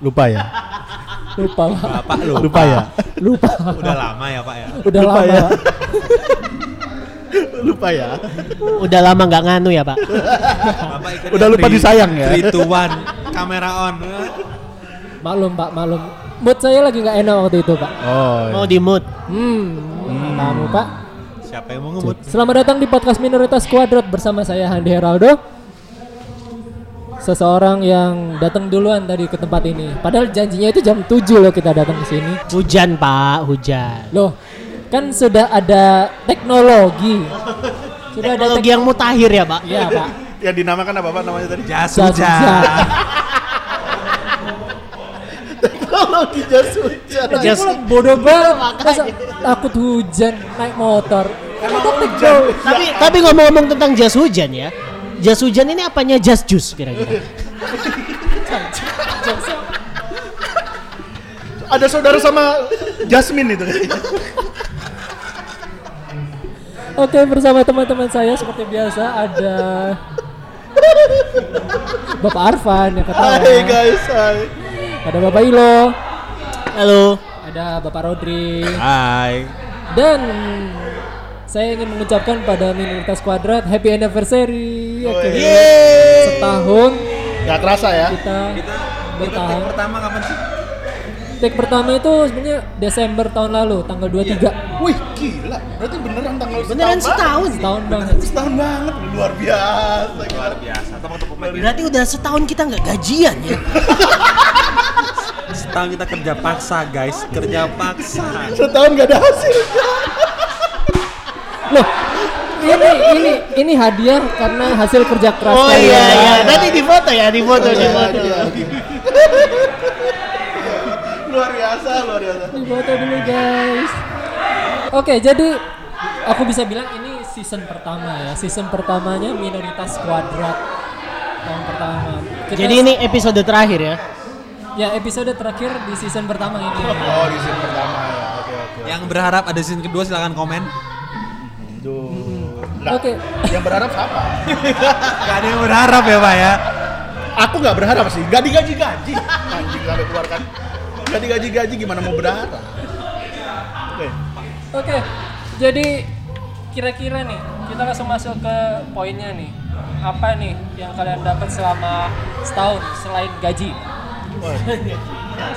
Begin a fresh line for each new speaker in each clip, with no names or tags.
Lupa ya?
Lupa Pak.
Bapak lupa.
Lupa ya?
Lupa.
Udah lama ya Pak ya.
Udah
Lupa
lama.
ya? lupa ya?
Udah lama nggak nganu ya pak.
Bapak ikutnya
Udah lupa
three-
disayang ya?
three to one, kamera on.
Maklum Pak, maklum. Mood saya lagi nggak enak waktu itu Pak.
Mau
Oh.
di mood.
Hmm. Kamu Pak.
Siapa yang mau ngemut?
Selamat datang di podcast Minoritas Kuadrat bersama saya Handi Heraldo. Seseorang yang datang duluan tadi ke tempat ini. Padahal janjinya itu jam 7 loh kita datang ke sini.
Hujan pak, hujan.
Loh, kan sudah ada teknologi. Sudah ada
Teknologi yang mutakhir ya pak.
Iya, Pak.
Yang dinamakan apa Pak namanya tadi?
Jas
Jas hujan.
hujan.
Teknologi jas hujan.
Lagi
Jas-
pula bodoh banget masa takut hujan naik motor. Emang hujan.
Tapi tapi ngomong-ngomong tentang jas hujan ya. Jas hujan ini apanya jas jus kira-kira?
Ada saudara sama Jasmine itu kayaknya.
Oke, bersama teman-teman saya seperti biasa ada Bapak Arfan
Oh.
yang ketawa.
Hai guys, hai.
Ada Bapak Ilo,
Halo.
ada Bapak Rodri
Hai.
dan saya ingin mengucapkan pada minoritas kuadrat happy anniversary.
Oh,
Oke.
iya.
Setahun
Gak kerasa ya?
kita bertahan.
Pertama kapan sih?
Take pertama itu sebenarnya Desember tahun lalu, tanggal 23.
Wih gila, berarti beneran tanggal
Beneran
setahun
setahun.
Tahun banget.
banget. Setahun banget, luar biasa. Luar
Biasa, teman-teman pemain.
Berarti udah setahun kita nggak gajian ya.
Setahun kita kerja paksa guys, kerja paksa.
Setahun gak ada hasil.
Loh, ini ini ini hadiah karena hasil kerja keras
Oh
kalian. ya.
iya iya. Nanti di foto ya, di foto
Iya,
di foto.
luar biasa, luar biasa.
Di foto dulu guys. Oke, jadi aku bisa bilang ini season pertama ya. Season pertamanya minoritas kuadrat tahun pertama. Kita-
Jadi ini episode terakhir ya.
ya episode terakhir di season pertama ini.
Oh di sini pertama ya, oke oke.
Yang berharap ada season kedua silahkan komen.
Duh. Hmm.
Oke.
Nah, Yang berharap siapa?
Gak ada yang berharap ya Pak ya.
Aku nggak berharap sih, gak digaji-gaji. Anjing sampai keluarkan. Gak digaji-gaji gimana mau berharap? Oke.
Oke, jadi kira-kira nih kita langsung masuk ke poinnya nih. Apa nih yang kalian dapat selama setahun selain gaji?
Wah,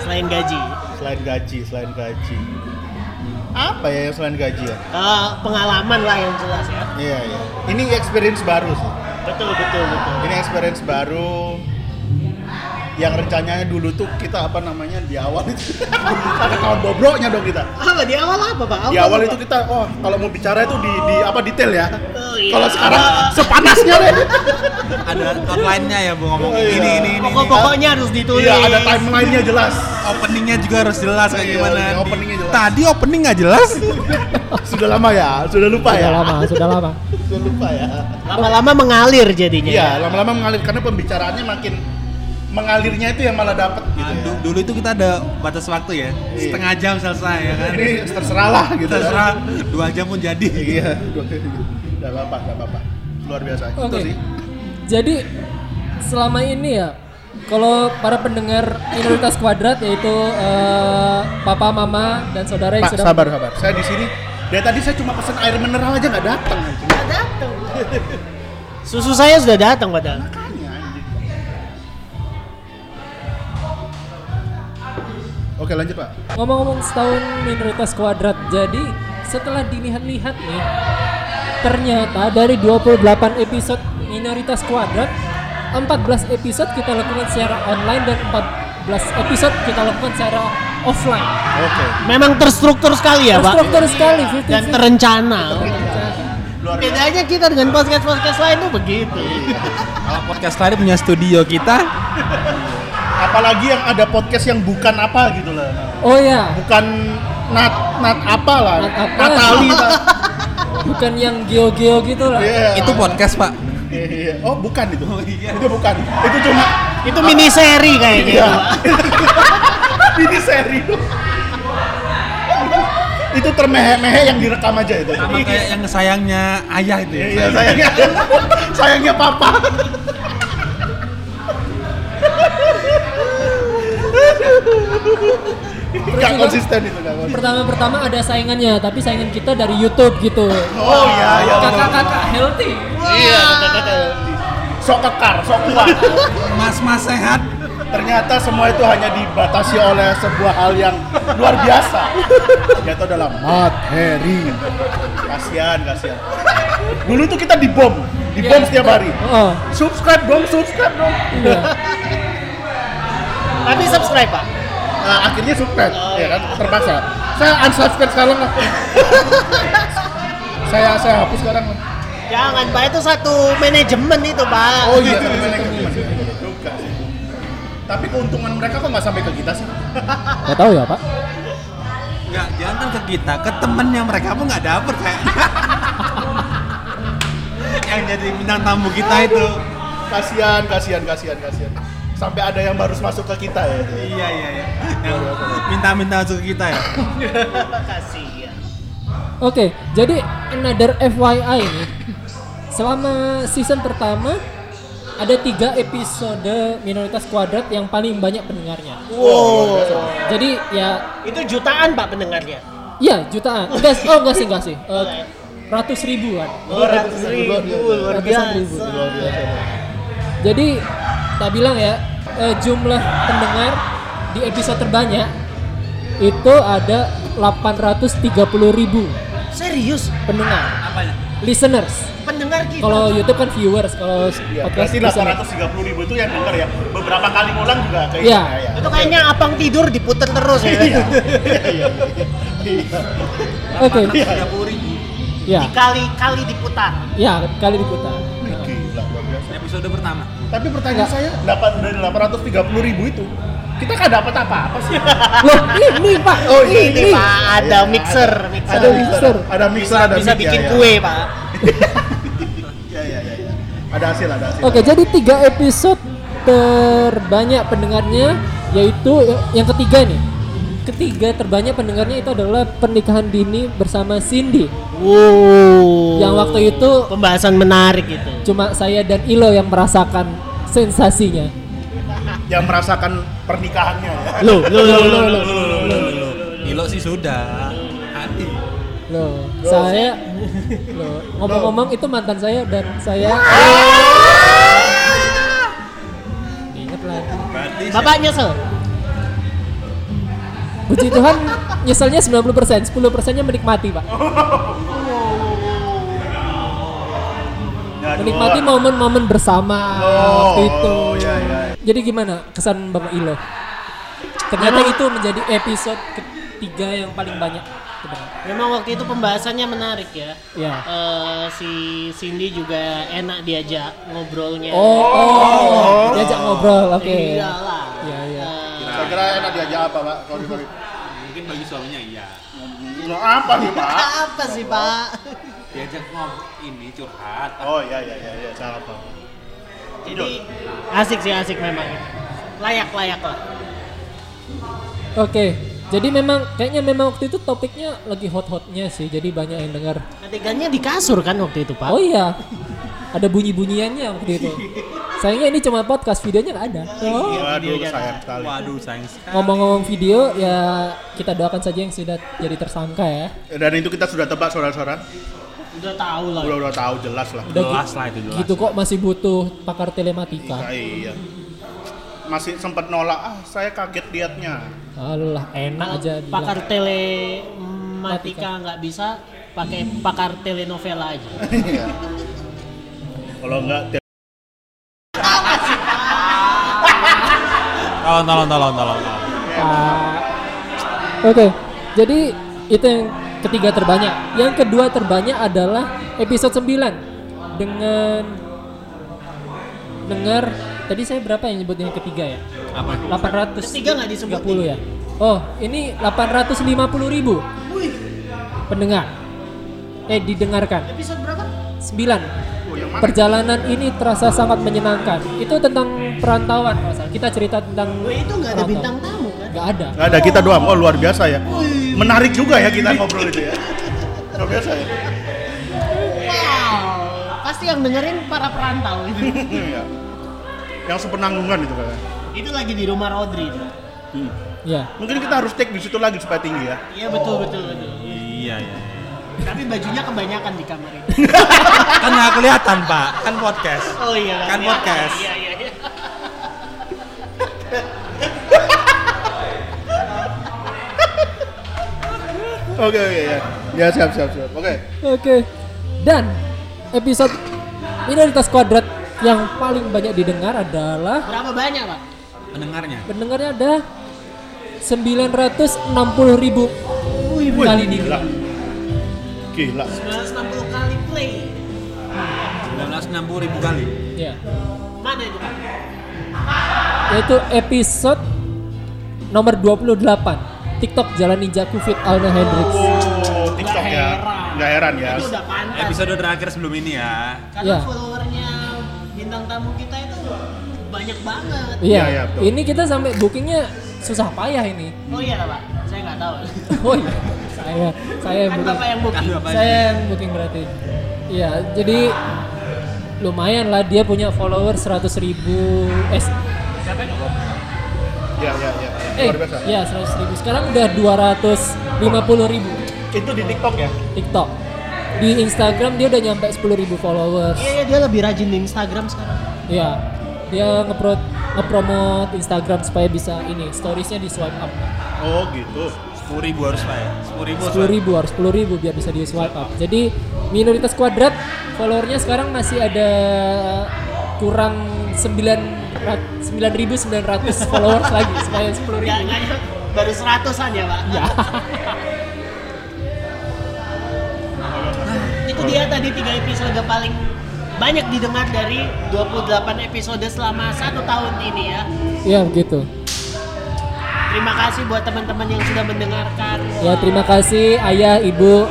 Selain gaji,
Selain gaji, selain gaji. Apa ya yang selain gaji ya?
Eh, pengalaman lah yang jelas ya.
Iya iya. Ini experience baru sih.
Betul betul betul.
Ini experience baru yang rencananya dulu tuh kita apa namanya di awal itu ada kawan bobroknya dong kita.
Apa di awal apa pak?
Di awal itu
apa, Pak?
kita oh kalau mau bicara itu di, di apa detail ya.
Oh, iya.
Kalau sekarang sepanasnya deh.
Ada outline-nya ya Bu
Oh,
ngomong
iya.
ini ini ini. ini.
pokok-pokoknya harus ditulis.
Iya ada timelinenya jelas.
Openingnya juga harus jelas kayak
Iya,
gimana.
iya, openingnya jelas.
Tadi opening nggak jelas.
Sudah lama ya, sudah lupa
Sudah
ya.
lama, sudah lama.
Sudah lupa ya.
Lama-lama mengalir jadinya.
Iya lama-lama mengalir karena pembicaraannya makin mengalirnya itu yang malah dapet gitu. ya.
Du- dulu itu kita ada batas waktu ya,
Iya.
setengah jam selesai ya kan.
Ini terserah lah gitu. ya.
Terserah dua jam pun jadi.
Iya. Gak apa-apa, gak apa-apa. Luar biasa. Itu
Oke.
sih.
Jadi selama ini ya, kalau para pendengar minoritas kuadrat yaitu eh, papa, mama dan saudara yang
Pak,
sudah
sabar, sabar. Saya di sini. Dari tadi saya cuma pesen air mineral aja nggak datang. anjing.
Susu saya sudah datang padahal.
Makanya, anjing. Oke lanjut pak.
ngomong-ngomong setahun minoritas kuadrat. Jadi setelah dilihat-lihat nih, ternyata dari 28 episode minoritas kuadrat, 14 episode kita lakukan secara online dan 14 episode kita lakukan secara offline.
Oke.
Memang terstruktur sekali
Iya,
ya pak.
Terstruktur sekali, 50-50.
Dan terencana.
Luar biasa.
Bedanya kita dengan podcast-podcast lain tuh begitu.
Kalau podcast lain punya studio kita,
Apalagi yang ada podcast yang bukan apa gitu lah.
Oh ya,
Bukan nat nat apa lah.
Nat apa?
Natali lah.
bukan yang geo-geo gitu lah.
Iya.
itu podcast pak.
Iya, iya. Oh bukan itu. Itu bukan. Itu cuma.
Itu mini seri kayaknya.
Iya.
Pak.
Ini seri. itu termehek-mehek yang direkam aja itu.
Sama kayak yang sayangnya ayah itu ya.
Iya, sayangnya sayangnya papa. Gak
juga
konsisten itu gak konsisten.
pertama-pertama ada saingannya, tapi saingan kita dari YouTube gitu.
Oh iya iya. betul.
Kakak-kakak healthy.
Iya. kakak-kakak. Sok kekar, sok kuat.
Mas-mas sehat.
Ternyata semua itu hanya dibatasi oleh sebuah hal yang luar biasa. Yaitu adalah materi. Kasihan, kasihan. Dulu tuh kita dibom, dibom
Iya,
Kan setiap hari.
Oh,
Subscribe dong, subscribe dong.
iya.
Tapi subscribe pak.
Nah, akhirnya subscribe, ya kan? Terpaksa. Saya unsubscribe sekarang. lah. saya saya hapus sekarang. lah.
Jangan pak itu satu manajemen itu pak.
Oh iya, tapi manajemen. Juga sih. Tapi keuntungan mereka kok nggak sampai ke kita sih?
Gak tahu ya pak?
Enggak, jangan kan ke kita, ke temennya mereka pun nggak dapet kayak. yang jadi bintang tamu kita itu.
Kasihan, kasihan, kasihan, kasihan. Sampai ada yang baru masuk ke kita ya.
Iya iya iya. Yang minta-minta masuk ke kita ya.
Kasihan.
Oke, jadi another FYI nih. Selama season pertama ada tiga episode minoritas kuadrat yang paling banyak pendengarnya.
Wow.
Jadi ya,
Itu jutaan pak pendengarnya.
ya jutaan. Enggak, oh enggak sih enggak sih. Eh, ratus ribuan.
Oh, ratus ribu luar
Ratusan
biasa.
ribu. Jadi tak bilang ya eh, jumlah pendengar di episode terbanyak itu ada 830.000 ribu
Serius
pendengar,
Apanya?
listeners.
pendengar kita.
Kalau YouTube kan viewers, kalau
Ya,
podcast
berarti
listeners.
830 ribu itu yang denger ya. Beberapa kali ngulang juga kayak
Iya.
ya,
itu kayaknya abang tidur diputer terus ya.
Iya. Iya. Iya.
Oke,
Tiga puluh ribu.
ya,
Dikali-kali diputar.
ya kali diputar.
Gila, luar biasa.
Episode pertama.
Tapi pertanyaan saya, dapat dari 830 ribu itu, kita nggak dapat apa-apa sih? Iya,
Loh, ini pak,
Oh, iya,
Ini pak ada mixer, mixer.
Ada mixer, ada mixer, ada
bisa
mic, ya,
bikin
ya.
kue pak.
Iya, iya, iya. iya. Ada hasil, ada hasil.
Oke, jadi tiga episode terbanyak pendengarnya yaitu yang ketiga nih. Ketiga terbanyak pendengarnya itu adalah pernikahan dini bersama Cindy.
Wow.
Yang waktu itu
pembahasan menarik itu.
cuma saya dan Ilo yang merasakan sensasinya.
Yang merasakan pernikahannya ya.
Loh, loh, loh, loh, loh.
Ilo sih sudah. Hati.
Loh, saya loh, ngomong-ngomong itu mantan saya dan saya Ingat lagi.
Berarti
Bapak nyesel?
Puji Tuhan, nyeselnya 90%, 10%-nya menikmati, Pak.
Ya, aduh.
Menikmati momen-momen bersama waktu itu.
Oh, ya, ya.
Jadi gimana kesan Bapak Ilo? Ternyata itu menjadi episode ketiga yang paling banyak. kedengar.
Memang waktu itu pembahasannya menarik ya.
Ya.
Eh, si Cindy juga enak diajak ngobrolnya.
Oh, oh, diajak ngobrol, oke.
Iyalah.
Iya, iya.
Eh,
Saya kira enak diajak apa, Pak? Kalau dibagi.
mungkin bagi suaminya iya.
Nah, apa nih, Pak?
Eh, apa sih pak?
Diajak ngobrol ini curhat.
Oh, iya, iya, iya, iya. Salah, Pak.
Jadi asik sih asik memang. Layak layak lah.
Oke. Jadi memang kayaknya memang waktu itu topiknya lagi hot-hotnya sih. Jadi banyak yang dengar.
Adegannya di kasur kan waktu itu pak?
Oh iya. Ada bunyi-bunyiannya waktu itu. Sayangnya ini cuma podcast, videonya nggak ada. Oh.
Waduh,
dia
sayang sekali.
Waduh sayang sekali.
Ngomong-ngomong video, ya kita doakan saja yang sudah jadi tersangka ya.
Dan itu kita sudah tebak, saudara-saudara.
Udah tahu lah.
Udah, udah tahu jelas lah.
Udah
Jelas
gi-
lah itu jelas.
gitu kok masih butuh pakar telematika.
Iya. Masih sempat nolak. Ah, saya kaget liatnya.
Allah enak
Kalau
aja bilang.
pakar telematika nggak bisa pakai
Hmm.
pakar telenovela aja.
Kalau enggak
Tolong tolong tolong tolong. tolong.
Pak. Ah. Oke, jadi itu yang ketiga terbanyak. Yang kedua terbanyak adalah episode 9 dengan dengar tadi saya berapa yang nyebutin yang ketiga ya?
Apa?
800
Ketiga nggak disebutin.
30 ya. Oh, ini 850 ribu pendengar. Eh didengarkan.
Episode berapa?
9.
Oh, yang mana?
Perjalanan ini terasa sangat menyenangkan. Itu tentang perantauan, kalau nggak salah. Kita cerita tentang
Wah, Oh, itu nggak ada
perantauan.
bintang tamu kan?
Nggak ada.
Nggak ada kita doang. Oh, luar biasa ya. Menarik juga ya kita ngobrol itu ya. Luar biasa ya.
Wow. Pasti yang dengerin para perantau itu.
Iya. Yang sepenanggungan itu kan.
itu lagi di rumah Rodri.
Ya.
Mungkin kita harus take di situ lagi supaya tinggi ya.
Iya betul betul betul.
Iya ya.
Tapi bajunya kebanyakan di kamar itu.
Kan nggak kelihatan pak, kan podcast.
Oh iya.
Kan
iya,
podcast.
Iya iya iya.
Oke oke ya. Ya siap siap siap. Oke.
Oke. Dan episode Minoritas Kuadrat yang paling banyak didengar adalah
Berapa banyak pak?
Pendengarnya.
pendengarnya ada 960.000 ribu kali di
Gila. Gila.
960 kali play.
1960 ribu kali.
ya
Mana itu pak?
yaitu episode nomor 28 TikTok Jalan Ninjaku Fit Alna Hendrix
Oh, TikTok
Nggak
ya.
heran.
Nggak heran ya.
Itu udah pantas.
Episode terakhir sebelum ini ya.
Karena
Iya.
followernya bintang tamu kita itu banyak banget.
Iya, iya,
Iya,
betul.
ini kita sampai bookingnya susah payah ini.
Oh iya lah pak, saya nggak tahu.
Oh iya, saya saya yang
kan
booking.
bapak yang booking.
Aduh, apa ini?
Saya yang booking berarti. Iya, jadi lumayan lah dia punya follower 100 ribu eh, s-
Ya ya ya.
eh
Luar biasa.
ya 100 ribu sekarang udah 250 ribu
Itu di TikTok ya.
TikTok di Instagram dia udah nyampe 10 ribu followers
Iya iya, dia lebih rajin di Instagram sekarang.
ya dia ngepro ngepromote Instagram supaya bisa ini storiesnya di swipe up
Oh gitu.
10 ribu harus pak ya. 10 ribu. harus, Pak.
10 ribu harus 10 ribu biar bisa di swipe up jadi minoritas kuadrat followernya sekarang masih ada eh, kurang 9 9900 followers lagi supaya 10
Nggak
ribu
nggak baru seratusan ya pak.
ya
Itu dia tadi tiga episode paling banyak didengar dari 28 episode selama satu tahun ini ya.
ya begitu
Terima kasih buat teman-teman yang sudah mendengarkan.
ya terima kasih ayah ibu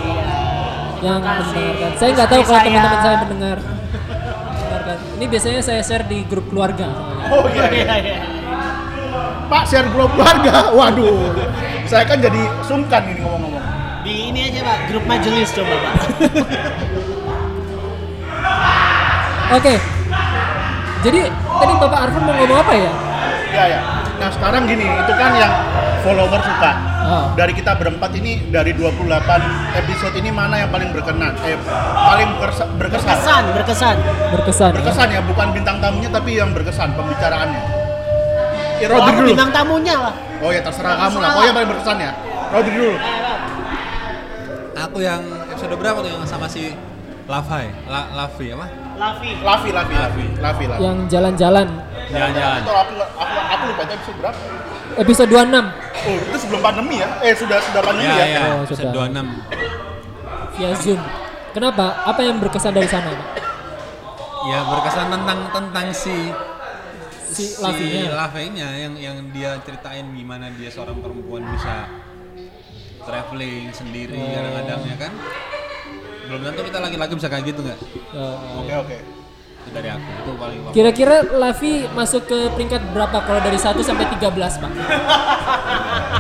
yang
Iya. Terima kasih.
mendengarkan saya nggak tahu
Istri
kalau
saya.
teman-teman saya mendengar Mendengarkan. ini biasanya saya share di grup keluarga
Oh iya. iya.
Iya, iya.
Pak share grup keluarga. Waduh. Saya kan jadi sungkan ini ngomong-ngomong.
Di ini aja pak, grup majelis coba pak.
Oke. Jadi tadi Bapak Arfan mau ngomong apa ya?
Iya ya. Nah sekarang gini, itu kan yang follower suka.
Oh.
Dari kita berempat ini dari 28 episode ini mana yang paling berkenan? Eh paling berkesa- berkesan.
Berkesan, berkesan.
Berkesan. ya?
Berkesan ya, bukan bintang tamunya tapi yang berkesan pembicaraannya. Eh,
Oh,
Rodri dulu.
bintang tamunya lah.
Oh ya terserah kamu lah. Oh ya paling berkesan ya. Rodri dulu.
Eh, Pak.
Aku yang episode berapa tuh yang sama si Lavai, La, Lavi apa?
Lavi.
Lavi, Lavi, Lavi, Lavi, Lavi.
Yang jalan-jalan
Jalan-jalan.
Atau aku aku aku lupa itu episode berapa?
episode 26
Oh itu sebelum pandemi ya? Eh sudah sudah pandemi
Ya
ya?
ya,
Oh,
episode
sudah.
26.
via Ya, Zoom. Kenapa? Apa yang berkesan dari sana, Pak?
Ya berkesan tentang tentang si
Si ya?
si
Lavinya.
Lavainya yang yang dia ceritain gimana dia seorang perempuan bisa traveling sendiri kadang-kadang ya kan. Belum tentu kita laki-laki bisa kayak gitu nggak?
Eh,
Oke oke.
Itu dari aku itu paling
Kira-kira Lavi masuk ke peringkat berapa kalau dari 1 sampai 13, Pak? Kan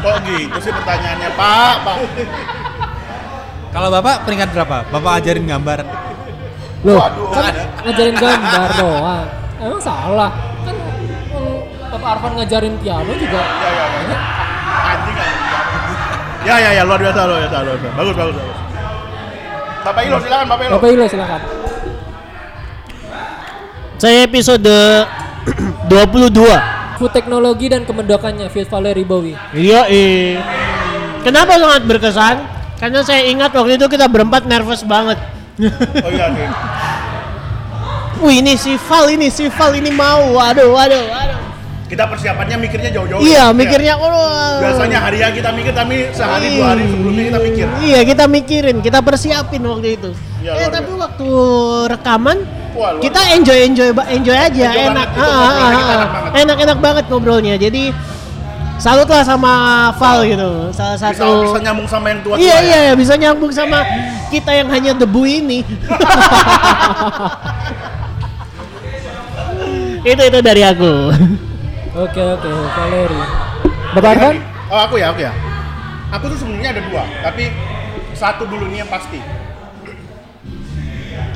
Kok gitu sih pertanyaannya Pak? Pak.
Kalau bapak peringkat berapa? Bapak ajarin gambar.
Loh,
Waduh.
kan ngajarin gambar doang. Emang salah. Kan mm, Bapak Arfan ngajarin piano juga.
Ya ya ya. Anjing kan. Ya ya ya luar biasa luar biasa luar biasa. Bagus bagus bagus. Bapak Ilo silakan Bapak Ilo.
Bapak Ilo silakan.
Saya episode 22.
Food teknologi dan kemendokannya Fit Valery Bowie.
Iya, eh. Kenapa sangat berkesan? Karena saya ingat waktu itu kita berempat nervous banget.
Oh iya oke.
Wih, ini si Val ini, si Val ini mau. Waduh, waduh, waduh.
Kita persiapannya mikirnya jauh-jauh.
Iya,
ya.
mikirnya oh.
Biasanya harian kita mikir tapi sehari dua hari sebelumnya kita mikir.
Iya, kita mikirin, kita persiapin waktu itu.
Iya,
eh,
luar
tapi
biasa.
waktu rekaman
Wah, luar
kita enjoy enjoy enjoy aja,
Enjoy
enak.
banget, itu
Ah,
ngobrolnya
ah,
kita
ah,
enak
ah.
banget.
Enak-enak banget ngobrolnya. Jadi salutlah sama Val gitu. Salah
Bisa,
satu
bisa nyambung sama yang tua-tua
Iya
ya.
iya iya, bisa nyambung sama kita yang hanya debu ini. itu itu dari aku.
Oke oke, Valeri. Bapak Arfan?
Oh aku ya, aku ya. Aku tuh sebenarnya ada dua, tapi satu dulu ini yang pasti.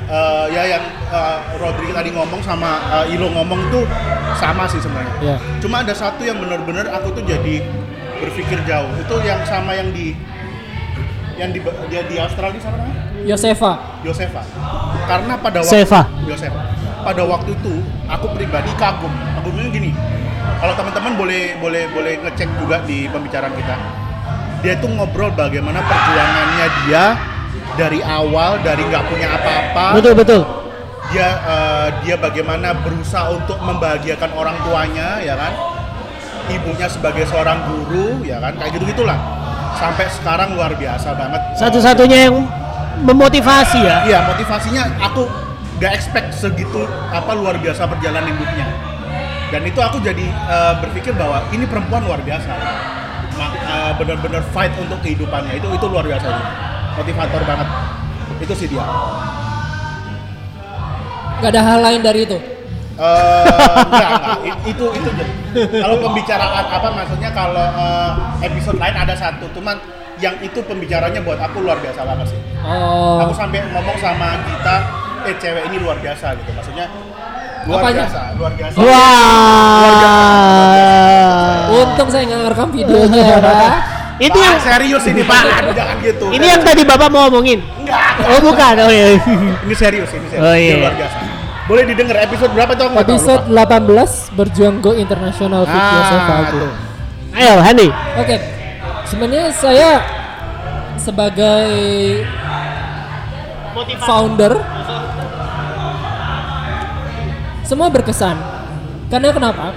eh, ya yang eh, Rodri tadi ngomong sama eh, Ilo ngomong tuh sama sih sebenarnya.
Iya.
Cuma ada satu yang bener-bener aku tuh jadi berpikir jauh. Itu yang sama yang di yang di dia di Australia sama namanya?
Yosefa.
Yosefa. Karena pada waktu
Seva.
Yosefa. Pada waktu itu aku pribadi kagum. Kagumnya gini. Kalau teman-teman boleh boleh boleh ngecek juga di pembicaraan kita. Dia tuh ngobrol bagaimana perjuangannya dia dari awal dari nggak punya apa-apa.
Betul betul.
Dia eh, dia bagaimana berusaha untuk membahagiakan orang tuanya ya kan. Ibunya sebagai seorang guru ya kan kayak gitu-gitulah. Sampai sekarang luar biasa banget.
Satu-satunya yang memotivasi ya.
Iya, motivasinya aku gak expect segitu apa luar biasa berjalan hidupnya. Dan itu aku jadi eh, berpikir bahwa ini perempuan luar biasa. Ma- eh, Bener-bener fight untuk kehidupannya itu itu luar biasa itu. Motivator banget. Itu sih dia.
Gak ada hal lain dari itu.
Eh, enggak, enggak. I- itu itu aja. kalau pembicaraan apa maksudnya kalau eh, episode lain ada satu cuman yang itu pembicaranya buat aku luar biasa banget sih
Oh.
aku sampai ngomong sama kita eh cewek ini luar biasa gitu maksudnya luar
Apanya?
biasa luar biasa
Wah.
Untung saya nggak ngerekam videonya ya, Pak.
Itu
Pak,
yang
serius ini pak aduh jangan gitu
ini yang tadi Bapak mau omongin.
enggak
Oh bukan. Oh iya.
ini serius ini serius
Oh,
Ini
iya.
luar biasa boleh didengar episode berapa tuh aku nggak tahu,
Episode
lupa.
18 berjuang go internasional fit
Ah,
Yosefa aku.
tuh.
Ayo Hani.
Oke, sebenarnya saya sebagai founder semua berkesan. Karena kenapa?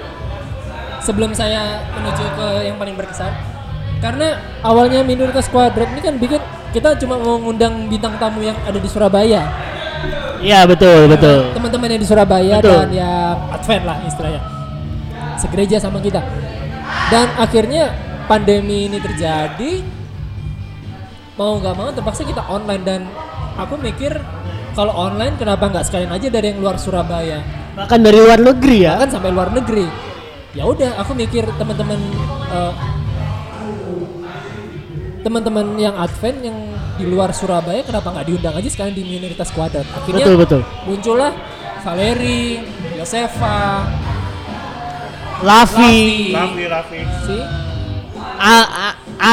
Sebelum saya menuju ke yang paling berkesan, karena awalnya minoritas kuadrat ini kan bikin kita cuma mau ngundang bintang tamu yang ada di Surabaya.
Iya betul betul.
teman-teman yang di Surabaya
Betul.
dan yang advent lah istilahnya segereja sama kita dan akhirnya pandemi ini terjadi mau nggak mau terpaksa kita online dan aku mikir kalau online kenapa nggak sekalian aja dari yang luar Surabaya
Bahkan dari luar negeri ya.
bahkan sampai luar negeri ya udah aku mikir teman-teman eh, teman-teman yang advent yang di luar Surabaya kenapa nggak diundang aja sekalian di minoritas kuadrat akhirnya
Betul betul.
muncullah Valeri, Yosefa,
Lavi.
Raffi Raffi
si
A A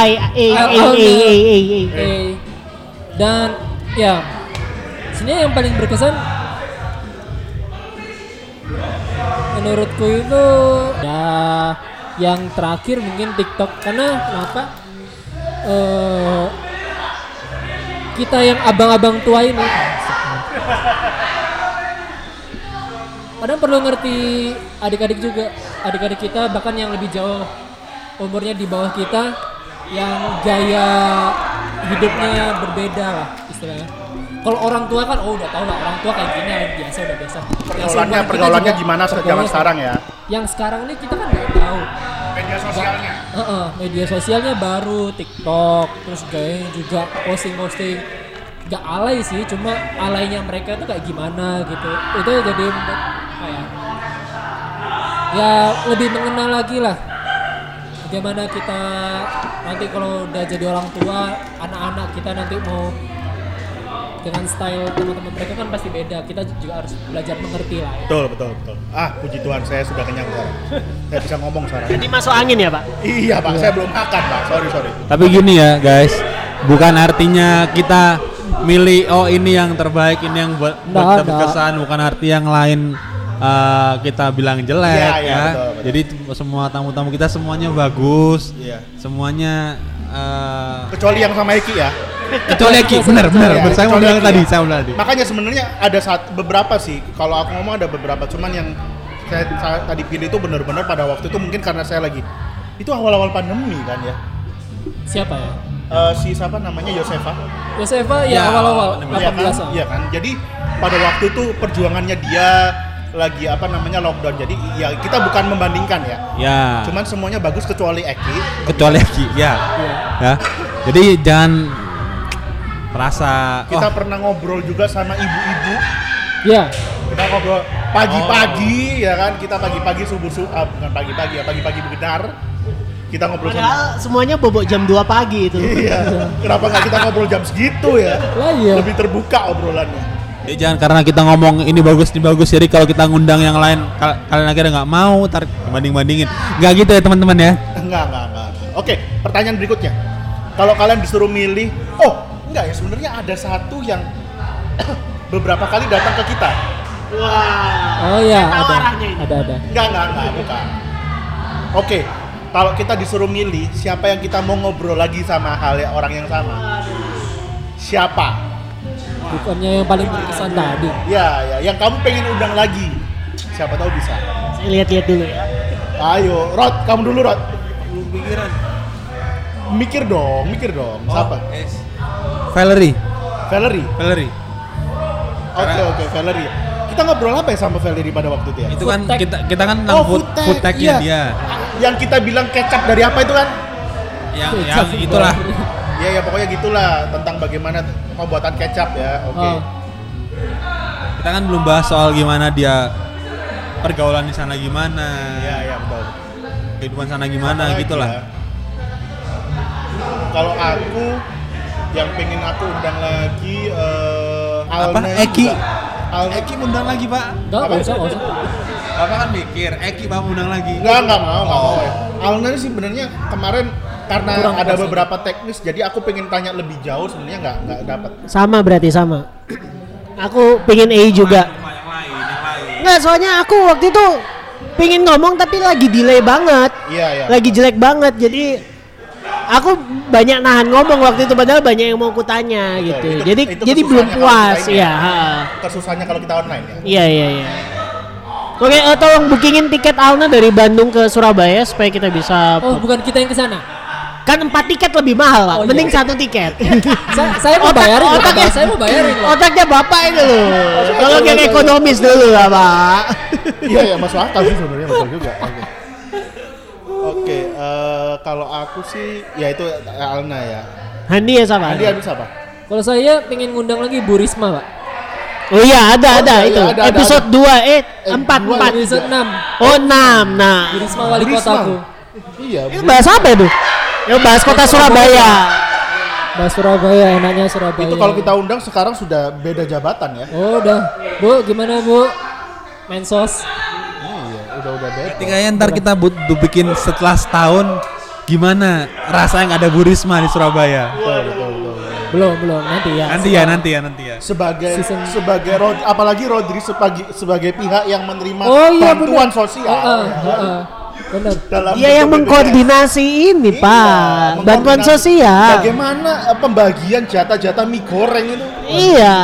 I A A A A A. A.
eh, dan ya sebenarnya yang paling berkesan menurutku itu ya yang terakhir mungkin TikTok karena kenapa eh, kita yang abang-abang tua ini kadang perlu ngerti adik-adik juga adik-adik kita bahkan yang lebih jauh umurnya di bawah kita yang gaya hidupnya berbeda lah istilahnya kalau orang tua kan oh udah tau lah orang tua kayak gini yang biasa udah biasa Yang
pergaulannya
seumuran kita
pergaulannya
juga-
gimana se- zaman
pergaulannya-
sekarang ya
yang sekarang ini kita kan nggak tahu
media sosialnya
Heeh, media sosialnya baru TikTok terus gayanya juga posting-posting nggak alay sih cuma alaynya mereka tuh kayak gimana gitu itu jadi men- apa ya ya lebih mengenal lagi lah bagaimana kita nanti kalau udah jadi orang tua anak-anak kita nanti mau dengan style teman-teman mereka kan pasti beda kita juga harus belajar mengerti lah ya.
betul betul betul ah puji Tuhan saya sudah kenyang sekarang saya bisa ngomong sekarang
Jadi masuk angin ya Pak.
iya pak saya belum makan pak sorry sorry
Tapi gini ya guys, bukan artinya kita milih oh ini yang terbaik, ini yang buat buat
Nggak
kita
ada.
berkesan, bukan arti yang lain eh, kita bilang jelek
Iya,
ya.
iya, betul, betul.
Jadi t- semua tamu-tamu kita semuanya bagus,
Iya.
semuanya eh,
kecuali yang sama Eki ya
kecuali Eki, benar benar.
Ya,
benar. saya mau
kecuali
bilang
Eki
tadi,
ya.
saya mau bilang tadi.
Makanya sebenarnya ada satu beberapa sih. Kalau aku ngomong ada beberapa, cuman yang saya, saya tadi pilih itu benar-benar pada waktu itu mungkin karena saya lagi itu awal-awal pandemi kan ya.
siapa ya
Eh, si siapa namanya Yosefa?
Yosefa ya,
Ya,
awal-awal
Iya kan?
18 lah.
Iya kan? Jadi pada waktu itu perjuangannya dia lagi apa namanya lockdown. Jadi ya kita bukan membandingkan ya.
Ya.
Cuman semuanya bagus kecuali Eki.
kecuali Eki, ya. Ya. Jadi jangan oh, merasa
Kita
"Wah,
pernah ngobrol juga sama ibu-ibu.
Iya.
Kita ngobrol pagi-pagi
Oh.
ya kan? Kita pagi-pagi subuh-subuh ah, bukan pagi-pagi ya, pagi-pagi benar. Kita ngobrol sama
Padahal semuanya bobok jam 2 pagi itu.
Iya. Kenapa nggak kita ngobrol jam segitu ya?
Lah iya.
Lebih terbuka obrolannya.
Ya jangan karena kita ngomong ini bagus ini bagus jadi kalau kita ngundang yang lain kal- kalian akhirnya nggak mau tarik banding bandingin nggak gitu ya teman-teman ya
Enggak, enggak, enggak. Oke, pertanyaan berikutnya. Kalau kalian disuruh milih, oh, enggak ya sebenarnya ada satu yang beberapa kali datang ke kita.
Wah.
Oh ya,
Saya tahu
ada.
arahnya ini.
Ada ada.
Enggak, enggak, enggak, bukan. Oke, kalau kita disuruh milih siapa yang kita mau ngobrol lagi sama hal orang yang sama. Siapa?
Bukannya yang paling
Iya.
berkesan tadi.
Ya, ya, yang kamu pengen undang lagi. Siapa tahu bisa.
Saya lihat-lihat dulu ya.
Ayo, Rod, kamu dulu, Rod.
pikiran
Mikir dong, mikir dong.
Oh.
Siapa?
Valerie
Valerie.
Valerie
Oke, oke, Valerie. Kita ngobrol apa ya sama Valerie pada waktu itu ya?
itu
Food
kan
tech.
kita kita kan tentang
Oh,
food,
food tech,
food tech-nya
iya.
dia
yang kita bilang kecap dari apa itu kan?
yang yang itulah
Ya ya pokoknya gitulah tentang bagaimana pembuatan kecap ya. Oke.
Oh,
kita kan belum bahas soal gimana dia pergaulan di sana gimana
Ya ya betul.
kehidupan sana
Apalagi ya.
gimana Nah, gitulah
Kalau aku yang pengen aku undang lagi eh
Apa?
Alna
Eki?
juga. Alna
Eki undang lagi pak
enggak
Apa?
enggak usah, enggak usah.
Bapak kan mikir Eki bapak undang lagi
Enggak, enggak mau, enggak mau ya. Alna sih sebenarnya kemarin karena
Kurang
ada
pas,
beberapa teknis jadi aku pengen tanya lebih jauh sebenarnya nggak nggak dapat.
Sama berarti sama. Aku pengen AI juga.
Sama yang lain yang lain
Nggak, soalnya aku waktu itu pengen ngomong tapi lagi delay banget.
Iya ya.
Lagi jelek banget. Jadi aku banyak nahan ngomong waktu itu padahal banyak yang mau kutanya
Betul,
gitu.
Iya, itu-
jadi
itu
jadi belum
kesusahannya kalau
puas
kita ini.
ya. ha.
Kesusahannya kalau kita online ya.
Iya iya iya. Oke, eh, tolong bookingin tiket Alna dari Bandung ke Surabaya supaya kita bisa
Oh, bukan kita yang ke sana.
kan empat tiket lebih mahal pak,
Oh, iya.
mending satu tiket.
Saya, saya mau bayarin, loh,
otaknya,
Pak. saya mau bayarin loh. Oh,
Otaknya bapak itu loh. Tolong yang ekonomis dulu lah pak.
Iya ya masuk akal sih sebenarnya betul juga. Oke. Oke, eh, kalau aku sih ya itu Alna ya.
Handi ya sama.
Andi habis apa?
Kalau saya pengen ngundang lagi Bu Risma, Pak.
Oh iya ada
Oh,
ada
iya,
itu
ada, ada,
episode
ada.
2 eh 4
dua,
Bu
4.
Risma 6.
Oh 6. Nah.
Bu Risma wali
Risma.
kotaku.
Iya.
Itu bahas apa itu? Ya bahas kota Surabaya.
Bah Surabaya, enaknya Surabaya.
Itu kalau kita undang sekarang sudah beda jabatan ya.
Oh, udah. Bu, gimana, Bu? Mensos.
Iya, udah udah beda.
Berarti kayaknya ntar kita butuh bikin setelah setahun gimana rasanya nggak ada Burisma di Surabaya.
Betul, betul, betul, betul.
Belum, belum. Nanti ya.
Nanti ya, nanti ya, nanti ya.
Sebagai
Season-
sebagai Rod, apalagi Rodri sebagai sebagai pihak yang menerima
Oh iya,
bantuan
benar.
sosial.
Heeh,
ya kan?
heeh. Benar.
Dalam
Dia Iya,
bentuk BPJS.
yang mengkoordinasi ini
Iya,
pak, bantuan
mengkoordinasi
sosial.
Bagaimana eh, pembagian jatah-jatah mie goreng itu?
Iya.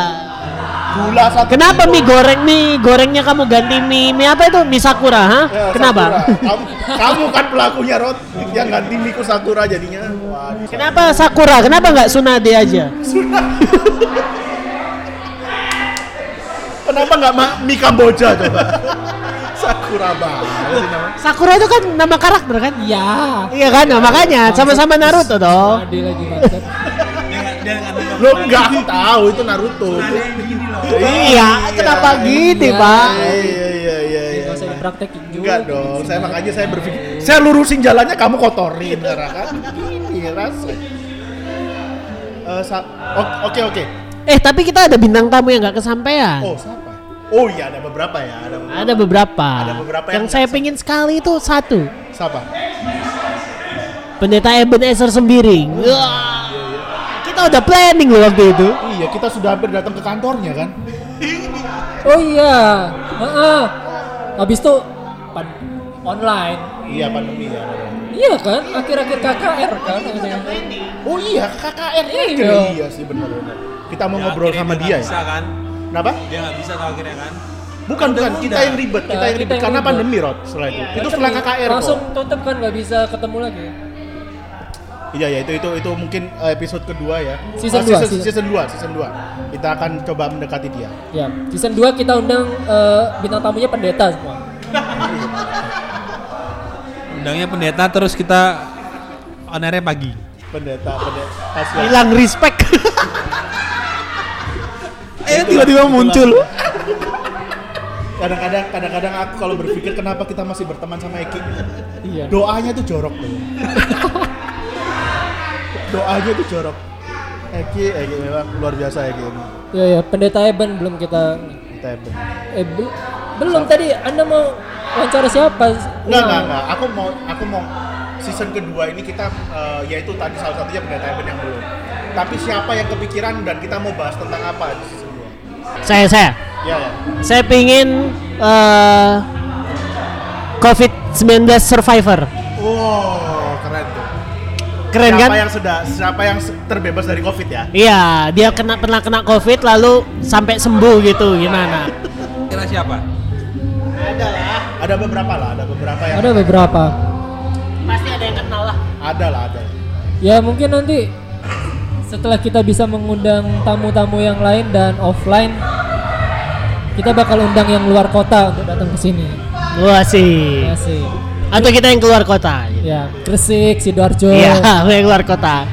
Gula satu.
Kenapa
kilo.
mie goreng mie gorengnya kamu ganti mie mie apa itu mie sakura ha?
Ya,
Kenapa?
Sakura. Kamu, kamu kan pelakunya Rod yang ganti Miku Sakura jadinya. Waduh.
Kenapa sakura? Kenapa nggak sunade aja?
Kenapa nggak ma- mie Kamboja coba? Sakura banget sih namanya.
Sakura itu kan nama karakter kan?
Ya.
Iya kan? Nah, makanya sama-sama Naruto dong.
Ada lagi bangsat.
Lo nggak tahu itu Naruto.
Iya, kenapa gitu, Pak?
Iya iya iya iya.
Enggak Ah. usah dipraktekin juga.
Enggak dong, saya makanya saya berpikir saya lurusin jalannya kamu kotorin karena kan ini rasanya. Eh, sa- o- oke oke.
Eh, tapi kita ada bintang tamu yang nggak kesampaian.
Oh, siapa? Oh iya ada beberapa ya, ada beberapa.
Ada beberapa.
Ada beberapa yang
yang, saya
nggak
pingin sekali itu satu.
Siapa?
Pendeta Ebenezer Sembiring. Wah. Kita udah planning loh waktu itu.
Iya, kita sudah hampir datang ke kantornya kan.
Oh iya. Heeh. Habis itu pan- online.
Iya, pandemi ya.
Iya kan? Akhir-akhir KKR kan?
Oh iya, KKR
Iya.
iya. iya sih benar benar. Kita mau ngobrol sama dia
Bisa
ya.
kan?
Kenapa?
Dia nggak bisa tau akhirnya kan?
Bukan bukan, kita yang ribet, kita
Nah,
yang
kita
ribet
yang
karena
ribet.
pandemi Rod setelah itu. Itu setelah KKR
gitu. Langsung
kok.
tutup kan nggak bisa ketemu lagi.
Iya ya, itu itu itu mungkin eh, episode kedua ya. Ah,
Season dua,
season,
season-
season 2, season 2. Kita akan coba mendekati dia.
Ya, season 2 kita undang eh, bintang tamunya pendeta semua.
Undangnya pendeta terus kita on air-nya pagi.
Pendeta, pendeta. ya. Kasihan.
Hilang respect.
Eh tiba-tiba muncul.
Kadang-kadang kadang-kadang aku kalau berpikir kenapa kita masih berteman sama Eki.
Iya.
Doanya tuh jorok tuh. Doanya tuh jorok. Eki, Eki memang luar biasa Eki ini.
Iya ya, pendeta Eben belum kita
Kita Eben.
eh, bel- belum tadi Anda mau wawancara siapa? Iya.
Enggak, enggak, enggak. Aku mau aku mau season kedua ini kita eh, yaitu tadi salah satunya pendeta Eben yang belum. Tapi siapa yang kepikiran dan kita mau bahas tentang apa di season dua?
Saya saya
Ya, ya.
saya pingin eh, COVID-19 survivor.
Wow, keren tuh.
Keren
siapa
kan?
yang sudah siapa yang se- terbebas dari Covid ya?
Iya, dia kena pernah kena COVID lalu sampai sembuh gitu. Gimana?
Kira siapa?
Ada lah. Ada beberapa lah, ada beberapa yang
Ada beberapa.
Pasti ada yang kenal lah.
ada lah, ada.
Ya mungkin nanti setelah kita bisa mengundang tamu-tamu yang lain dan offline kita bakal undang yang luar kota untuk datang ke sini.
Wah sih.
Ya sih.
Atau kita yang keluar kota.
Iya.
gitu.
Ya, Gresik, Sidoarjo.
Iya, yang keluar kota.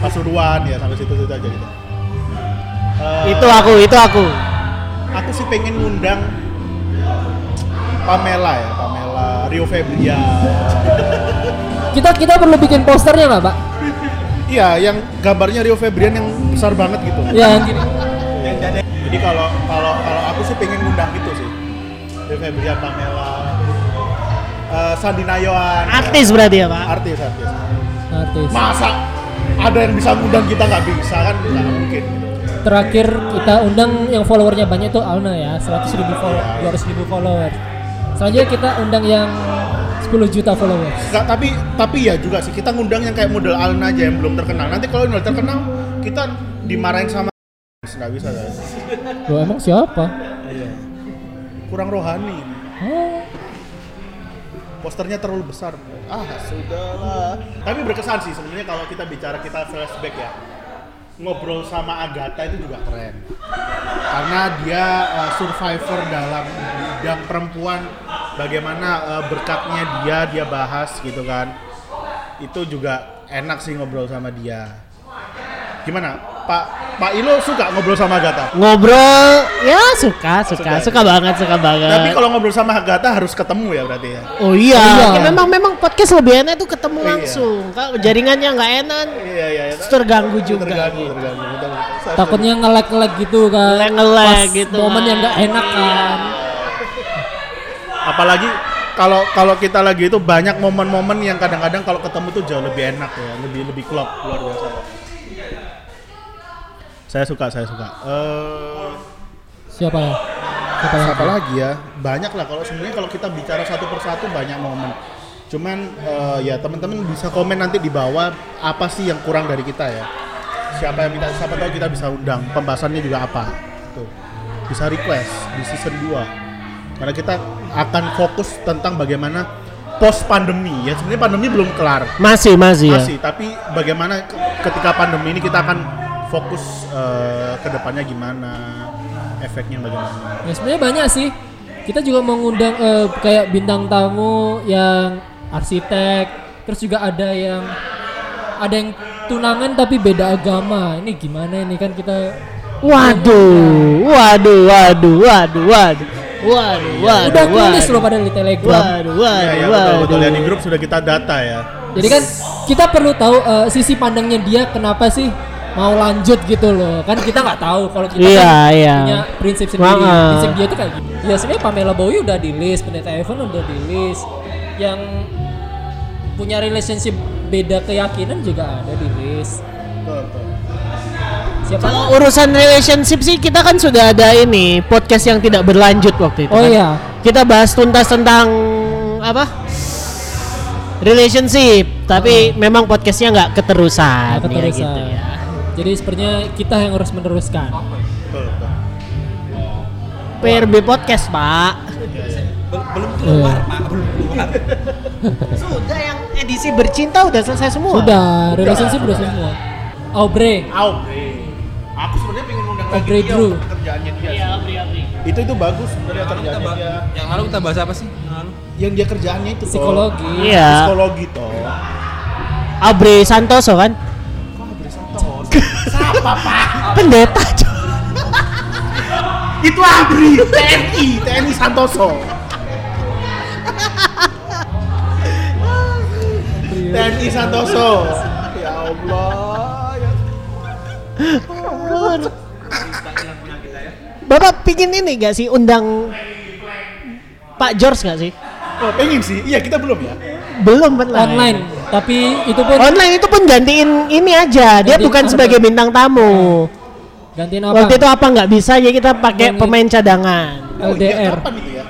Pasuruan ya sampai situ-situ aja gitu. Eh,
Itu aku, itu aku.
aku sih pengen ngundang Pamela ya, Pamela Rio Febrian.
Kita kita perlu bikin posternya nggak, Pak?
Iya, yang gambarnya Rio Febrian yang besar banget gitu.
Iya.
Ya, yang gini.
Jadi kalau kalau kalau aku sih pengen ngundang itu sih. Rio Febrian, Pamela, eh, Sandi Nayoan,
Artis berarti ya pak?
artis artis.
Artis.
Masa ada yang bisa ngundang kita nggak bisa kan nggak mungkin. Gitu.
Terakhir kita undang yang followernya banyak tuh Alna ya, 100 ribu follower, 200 ribu follower. Selanjutnya kita undang yang 10 juta followers.
Nggak, tapi tapi ya juga sih kita ngundang yang kayak model Alna aja yang belum terkenal. Nanti kalau udah terkenal kita dimarahin sama nggak bisa guys.
Loh, emang siapa?
Kurang rohani.
Oh,
Posternya terlalu besar. Ah, sudahlah. Tapi berkesan sih sebenarnya kalau kita bicara kita flashback ya. Ngobrol sama Agatha itu juga keren. Karena dia uh, survivor dalam bidang perempuan bagaimana uh, berkatnya dia dia bahas gitu kan. Itu juga enak sih ngobrol sama dia. Gimana? Pak Pak Ilo suka ngobrol sama Agatha?
Eh. Ngobrol, ya suka,
Suka.
suka, suka banget, suka banget.
Tapi kalau ngobrol sama Agatha harus ketemu ya berarti ya.
Oh iya,
Iya.
Ya, memang memang podcast lebih enak itu ketemu
Iya.
langsung. Kalau jaringannya nggak enak,
Iya iya. iya.
terganggu juga.
Terganggu, terganggu. betul, betul. Saya
takutnya ngelag ngelag gitu kan.
Ngelag ngelag
Pas
gitu
Momen
kan.
yang nggak enak kan.
apalagi kalau kalau kita lagi itu banyak momen-momen yang kadang-kadang kalau ketemu tuh jauh lebih enak ya lebih lebih klop luar biasa saya suka saya suka eh
Siapa ya? Siapa ya?
siapa lagi ya banyak lah kalau sebenarnya kalau kita bicara satu persatu banyak momen cuman eh, ya teman-teman bisa komen nanti di bawah apa sih yang kurang dari kita ya siapa yang kita siapa tahu kita bisa undang pembahasannya juga apa tuh bisa request di season 2 karena kita akan fokus tentang bagaimana post pandemi ya sebenarnya pandemi belum kelar
Masih, masih, ya.
masih tapi bagaimana ke- ketika pandemi ini kita akan fokus eh, ke depannya gimana efeknya bagaimana
Ya sebenarnya banyak sih. Kita juga mengundang eh, kayak bintang tamu yang arsitek, terus juga ada yang ada yang tunangan tapi beda agama. Ini gimana ini kan kita
Waduh, waduh, waduh, waduh, waduh, waduh,
Iya.
waduh,
udah tulis
waduh.
loh padahal di Telegram.
Waduh,
Ya, ya,
waduh,
betul, betul.
waduh.
Yang di grup sudah kita data ya.
Jadi kan kita perlu tahu eh, sisi pandangnya dia kenapa sih mau lanjut gitu loh. Kan kita nggak tahu kalau kita
Iya,
kan
iya.
punya prinsip sendiri.
Wah.
Prinsip dia tuh kayak gitu. Ya sebenarnya Pamela Bowie udah di list, Pendeta Evan udah di list. Yang punya relationship beda keyakinan juga ada di list.
Betul, betul.
Siapa?
Kalau urusan relationship sih kita kan sudah ada ini podcast yang tidak berlanjut waktu itu.
oh
kan.
iya.
Kita bahas tuntas tentang apa? Relationship, tapi memang podcastnya nggak keterusan,
Hmm. Nggak
ya
keterusan.
gitu ya.
Jadi sepertinya kita yang harus meneruskan.
betul, betul.
PRB podcast pak.
Bel- belum keluar,
Iya.
Pak. Belum keluar.
Sudah yang edisi bercinta udah selesai semua.
Udah, relationship udah semua. Aubrey,
Aubrey. Aku sebenarnya pengen ngundang lagi
Aubrey
dia
Drew.
untuk kerjaannya dia.
Iya,
sih. Itu itu bagus sebenarnya
Yang lalu kita
kerjaannya
bah-
dia.
yang lalu kita bahas apa sih? Yang lalu.
Yang dia kerjaannya itu toh.
psikologi.
Iya.
Psikologi toh.
Abre Santoso kan?
Kok Aubrey Santos? Siapa Pak?
Pendeta. coy.
Itu Aubrey, TNI, TNI Santoso. TNI Santoso. Ya Allah. ya-
Ampun. Bapak pingin ini gak sih undang Pak George gak sih?
Oh, pengen sih. Iya, kita belum ya.
Belum kan
online tapi itu pun
Online itu pun gantiin ini aja. Dia
Gantiin
bukan
apa?
sebagai bintang tamu.
gantiin apa
Waktu itu apa nggak bisa ya kita pakai
Yang
pemain cadangan.
Oh, iya,
LDR
kapan itu ya?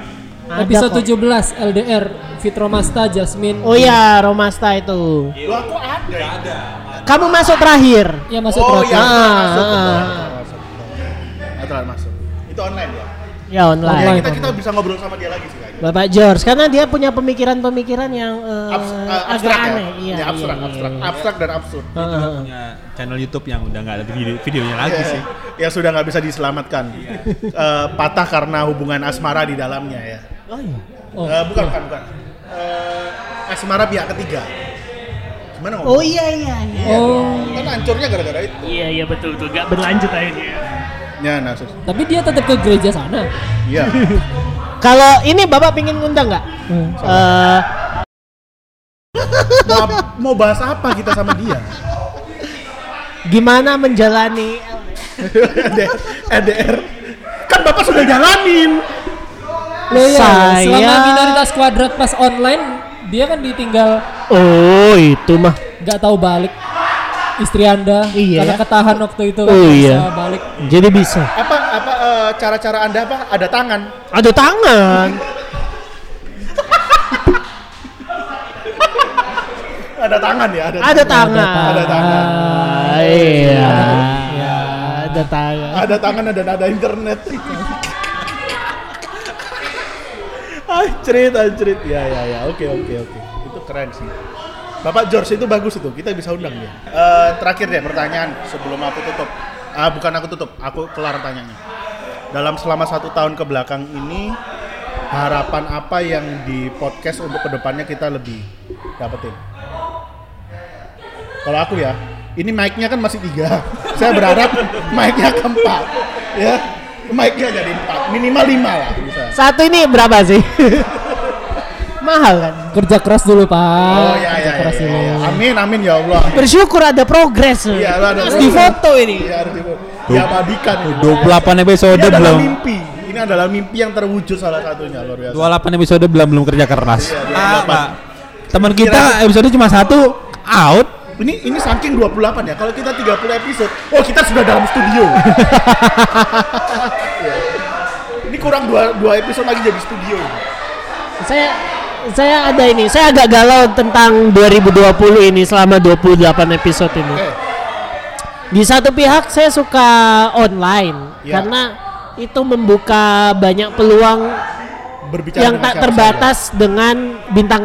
Ada
episode
kok.
17 LDR Fitromasta Jasmine
Oh iya, Romasta itu.
Lu aku ada. ya?
Kamu masuk terakhir.
ya masuk
Oh, iya.
protes.
Ah,
Masuk.
ah.
masuk, masuk. Aturan masuk. Itu online ya.
Ya online.
Ya,
Online.
kita kita bisa ngobrol sama dia lagi sih kayaknya.
Bapak George karena dia punya pemikiran-pemikiran yang eh,
Abs- eh,
agak
abstrak ya?
aneh. Iya,
Ya, abstrak,
iya,
abstrak,
iya.
abstrak dan absurd.
Ah, ah, ah.
punya channel YouTube yang udah nggak ada video videonya lagi sih.
Ya sudah nggak bisa diselamatkan.
Iya.
Eh, patah karena hubungan asmara di dalamnya ya.
Oh, iya.
Oh,
Eh, bukan, bukan, bukan. Eh, asmara pihak ketiga. Gimana ngomong?
Oh, iya iya. iya.
oh
Kan hancurnya gara-gara itu.
Iya iya betul betul gak berlanjut akhirnya.
Ya, nah, sus.
tapi dia tetap ke gereja sana
Iya.
Kalau ini Bapak pingin ngundang nggak?
Hmm.
Eh,
mau, mau bahas apa kita sama dia?
gimana menjalani
LDR, LDR. Kan Bapak sudah jalanin.
Loh ya,
iya. Saya-
selama minoritas kuadrat pas online dia kan ditinggal
Oh, itu mah.
nggak tahu balik istri anda
Iya.
karena ketahan waktu itu kan,
Oh,
nggak
iya.
bisa balik
Jadi bisa.
Apa apa eh, cara-cara Anda apa? Ada tangan.
Ada tangan.
Ada tangan ya, ada.
Ada tangan.
Ada tangan.
Iya. Ada tangan.
Ada tangan dan ada internet. Ah, Anjrit, anjrit. Ya, ya, ya. Oke, oke, oke. Itu keren sih. Bapak George itu bagus itu. Kita bisa undang dia. Eh, terakhir deh pertanyaan sebelum aku tutup. Ah, bukan aku tutup. Aku kelar tanyanya. Dalam selama satu tahun ke belakang ini harapan apa yang di podcast untuk kedepannya kita lebih dapetin? Kalau aku ya, ini mic-nya kan masih tiga. Saya berharap mic-nya keempat, ya. Mic-nya jadi empat, minimal lima lah bisa.
Satu ini berapa sih? Mahal kan?
kerja keras dulu
Ah,
pak
Oh ya ya
kerja
ya,
keras
ya,
dulu
ya. Amin amin ya Allah.
Bersyukur ada progres. Iya.
Iya, lu ada
Harus
progres.
difoto ini.
Ya harus itu. Diabadikan. ini.
28 episode
Ini adalah
belum.
mimpi. Ini adalah mimpi yang terwujud salah satunya luar biasa.
28 episode belum belum kerja keras.
Iya,
Ah,
28.
Pak. Teman
Kira-
kita episode cuma satu out.
Ini ini saking 28 ya. Kalau kita 30 episode, oh kita sudah dalam studio. Iya. ini kurang dua, dua episode lagi jadi studio.
Saya saya ada ini. Saya agak galau tentang 2020 ini selama 28 episode ini.
Oke.
Di satu pihak saya suka online
Ya.
karena itu membuka banyak peluang
Berbicara
yang
dengan
tak
siapa
terbatas dengan bintang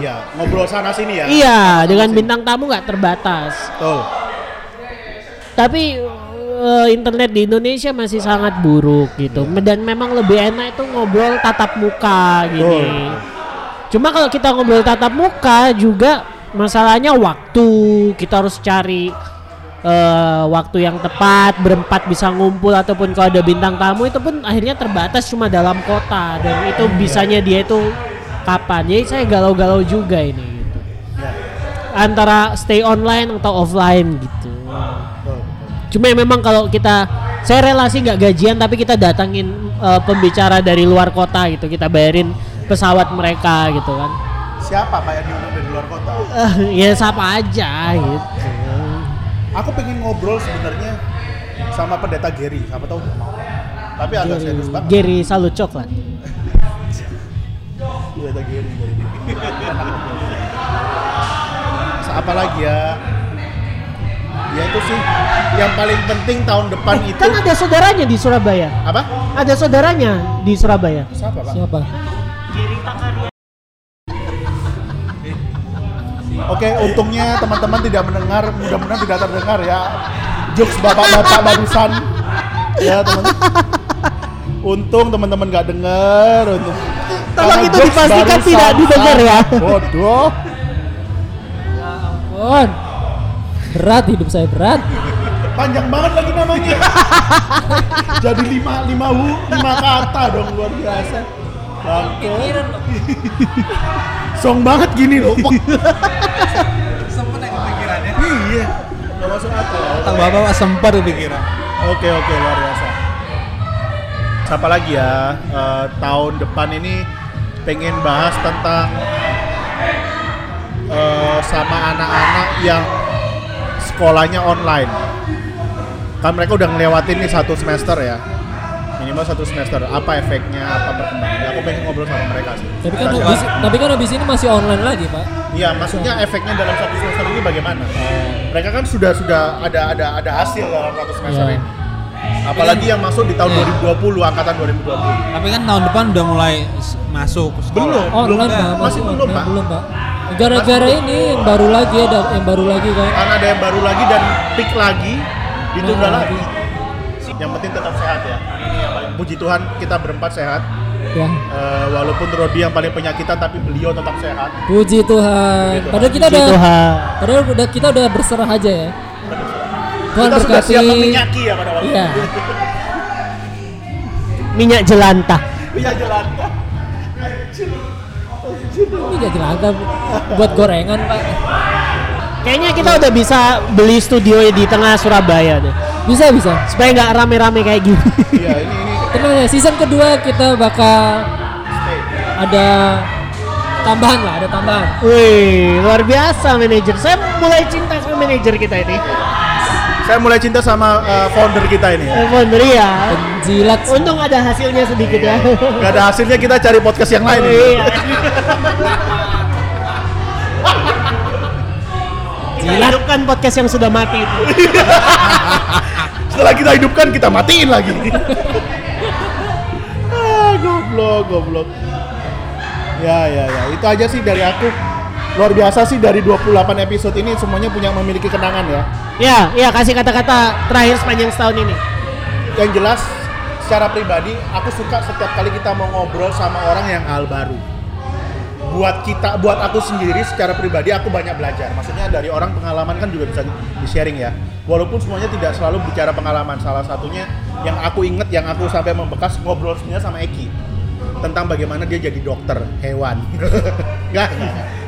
saja. Iya, ngobrol sana sini ya.
Iya, dengan bintang tamu nggak terbatas.
Betul.
Tapi eh, internet di Indonesia masih sangat buruk gitu. Dan memang lebih enak itu ngobrol tatap muka
Betul.
gini. Cuma kalau kita ngobrol tatap muka juga masalahnya waktu. Kita harus cari eh, waktu yang tepat, berempat bisa ngumpul ataupun kalau ada bintang tamu itu pun akhirnya terbatas cuma dalam kota dan itu bisanya dia itu kapan. Jadi saya galau-galau juga ini gitu. Antara stay online atau offline gitu.
Betul, betul.
Cuma ya memang kalau kita saya relasi nggak gajian tapi kita datangin eh, pembicara dari luar kota gitu, kita bayarin pesawat mereka gitu kan.
Siapa Pak yang diundang dari luar kota?
Eh, ya siapa aja gitu.
Aku pengen ngobrol sebenarnya sama pendeta Gary, siapa tahu. Tapi agak serius banget.
Gary salut coklat.
Pendeta Gary. Apa lagi ya? Ya itu sih yang paling penting tahun depan itu
Kan ada saudaranya di Surabaya.
apa?
Ada saudaranya di Surabaya.
Siapa Pak?
siapa
Oke, untungnya teman-teman tidak mendengar, mudah-mudahan tidak terdengar ya. Jokes bapak-bapak barusan. Ya, teman. Untung teman-teman nggak dengar. Untung.
Tolong
Karena
itu
jokes
dipastikan
barusan-
tidak didengar ya.
Bodoh.
Bon. berat hidup saya berat
Panjang banget lagi namanya. Jadi lima, lima wu, lima kata dong luar biasa. Bangke. Song banget gini loh. Wah,
Sempet yang kepikirannya.
Iya. Nggak masuk akal.
Tang bapak sempat kepikiran.
Oke oke luar biasa. apa lagi ya Eh, tahun depan ini pengen bahas tentang eh, sama anak-anak yang sekolahnya online kan mereka udah ngelewatin nih satu semester ya minimal satu semester apa efeknya apa perkembangannya aku pengen ngobrol sama mereka sih
Tapi kan
Tentang
habis,
sekolah.
tapi kan habis ini masih online lagi pak.
iya maksudnya efeknya dalam satu semester ini bagaimana
Oh,
mereka kan sudah sudah ada ada ada hasil dalam satu semester
Iya.
ini apalagi yang masuk di tahun
Iya.
2020 angkatan 2020
Tapi kan tahun depan udah mulai s- masuk ke sekolah.
Belum.
Oh, online pak,
Masih
masih
belum,
online,
Pak.
belum pak. Gara-gara ini yang baru lagi ada yang baru lagi kan.
karena ada yang baru lagi dan pick lagi ditunda
Hmm.
lagi yang penting tetap sehat ya Ini yang paling- puji Tuhan kita berempat sehat
Ya.
Eh, walaupun Rodi yang paling penyakitan tapi beliau tetap sehat
Puji Tuhan.
Tuhan.
Padahal kita
Puji
udah,
Tuhan.
padahal udah kita udah berserah aja ya. Tuhan
kita sudah
berkati.
siap meminyaki ya pada waktu
Iya.
itu
Minyak jelantah.
iya jelantah
Ini gak jelantah buat gorengan pak.
Kayaknya kita udah bisa beli studio di tengah Surabaya deh.
Bisa bisa.
Supaya nggak rame-rame kayak gini.
iya ini ini
Tenang ya. Season kedua kita bakal
stay
ada tambahan lah, ada tambahan.
Wih, luar biasa manajer. Saya mulai cinta sama manajer kita ini.
saya mulai cinta sama eh, founder kita ini ya
Telepon ya.
Penjilat.
Untung ada hasilnya sedikit ya.
Gak ada hasilnya kita cari podcast yang lain ini.
Iya. Kita
Jilat.
hidupkan podcast yang sudah mati itu.
Setelah kita hidupkan kita matiin lagi. ah, goblok, goblok. Ya, ya, ya. Itu aja sih dari aku. Luar biasa sih dari 28 episode ini semuanya punya memiliki kenangan ya.
Ya, ya kasih kata-kata terakhir sepanjang setahun ini.
Yang jelas secara pribadi aku suka setiap kali kita mau ngobrol sama orang yang hal baru. Buat kita, buat aku sendiri secara pribadi aku banyak belajar. Maksudnya dari orang pengalaman kan juga bisa di sharing ya. Walaupun semuanya tidak selalu bicara pengalaman. Salah satunya yang aku inget, yang aku sampai membekas ngobrol sebenarnya sama Eki tentang bagaimana dia jadi dokter hewan. Enggak,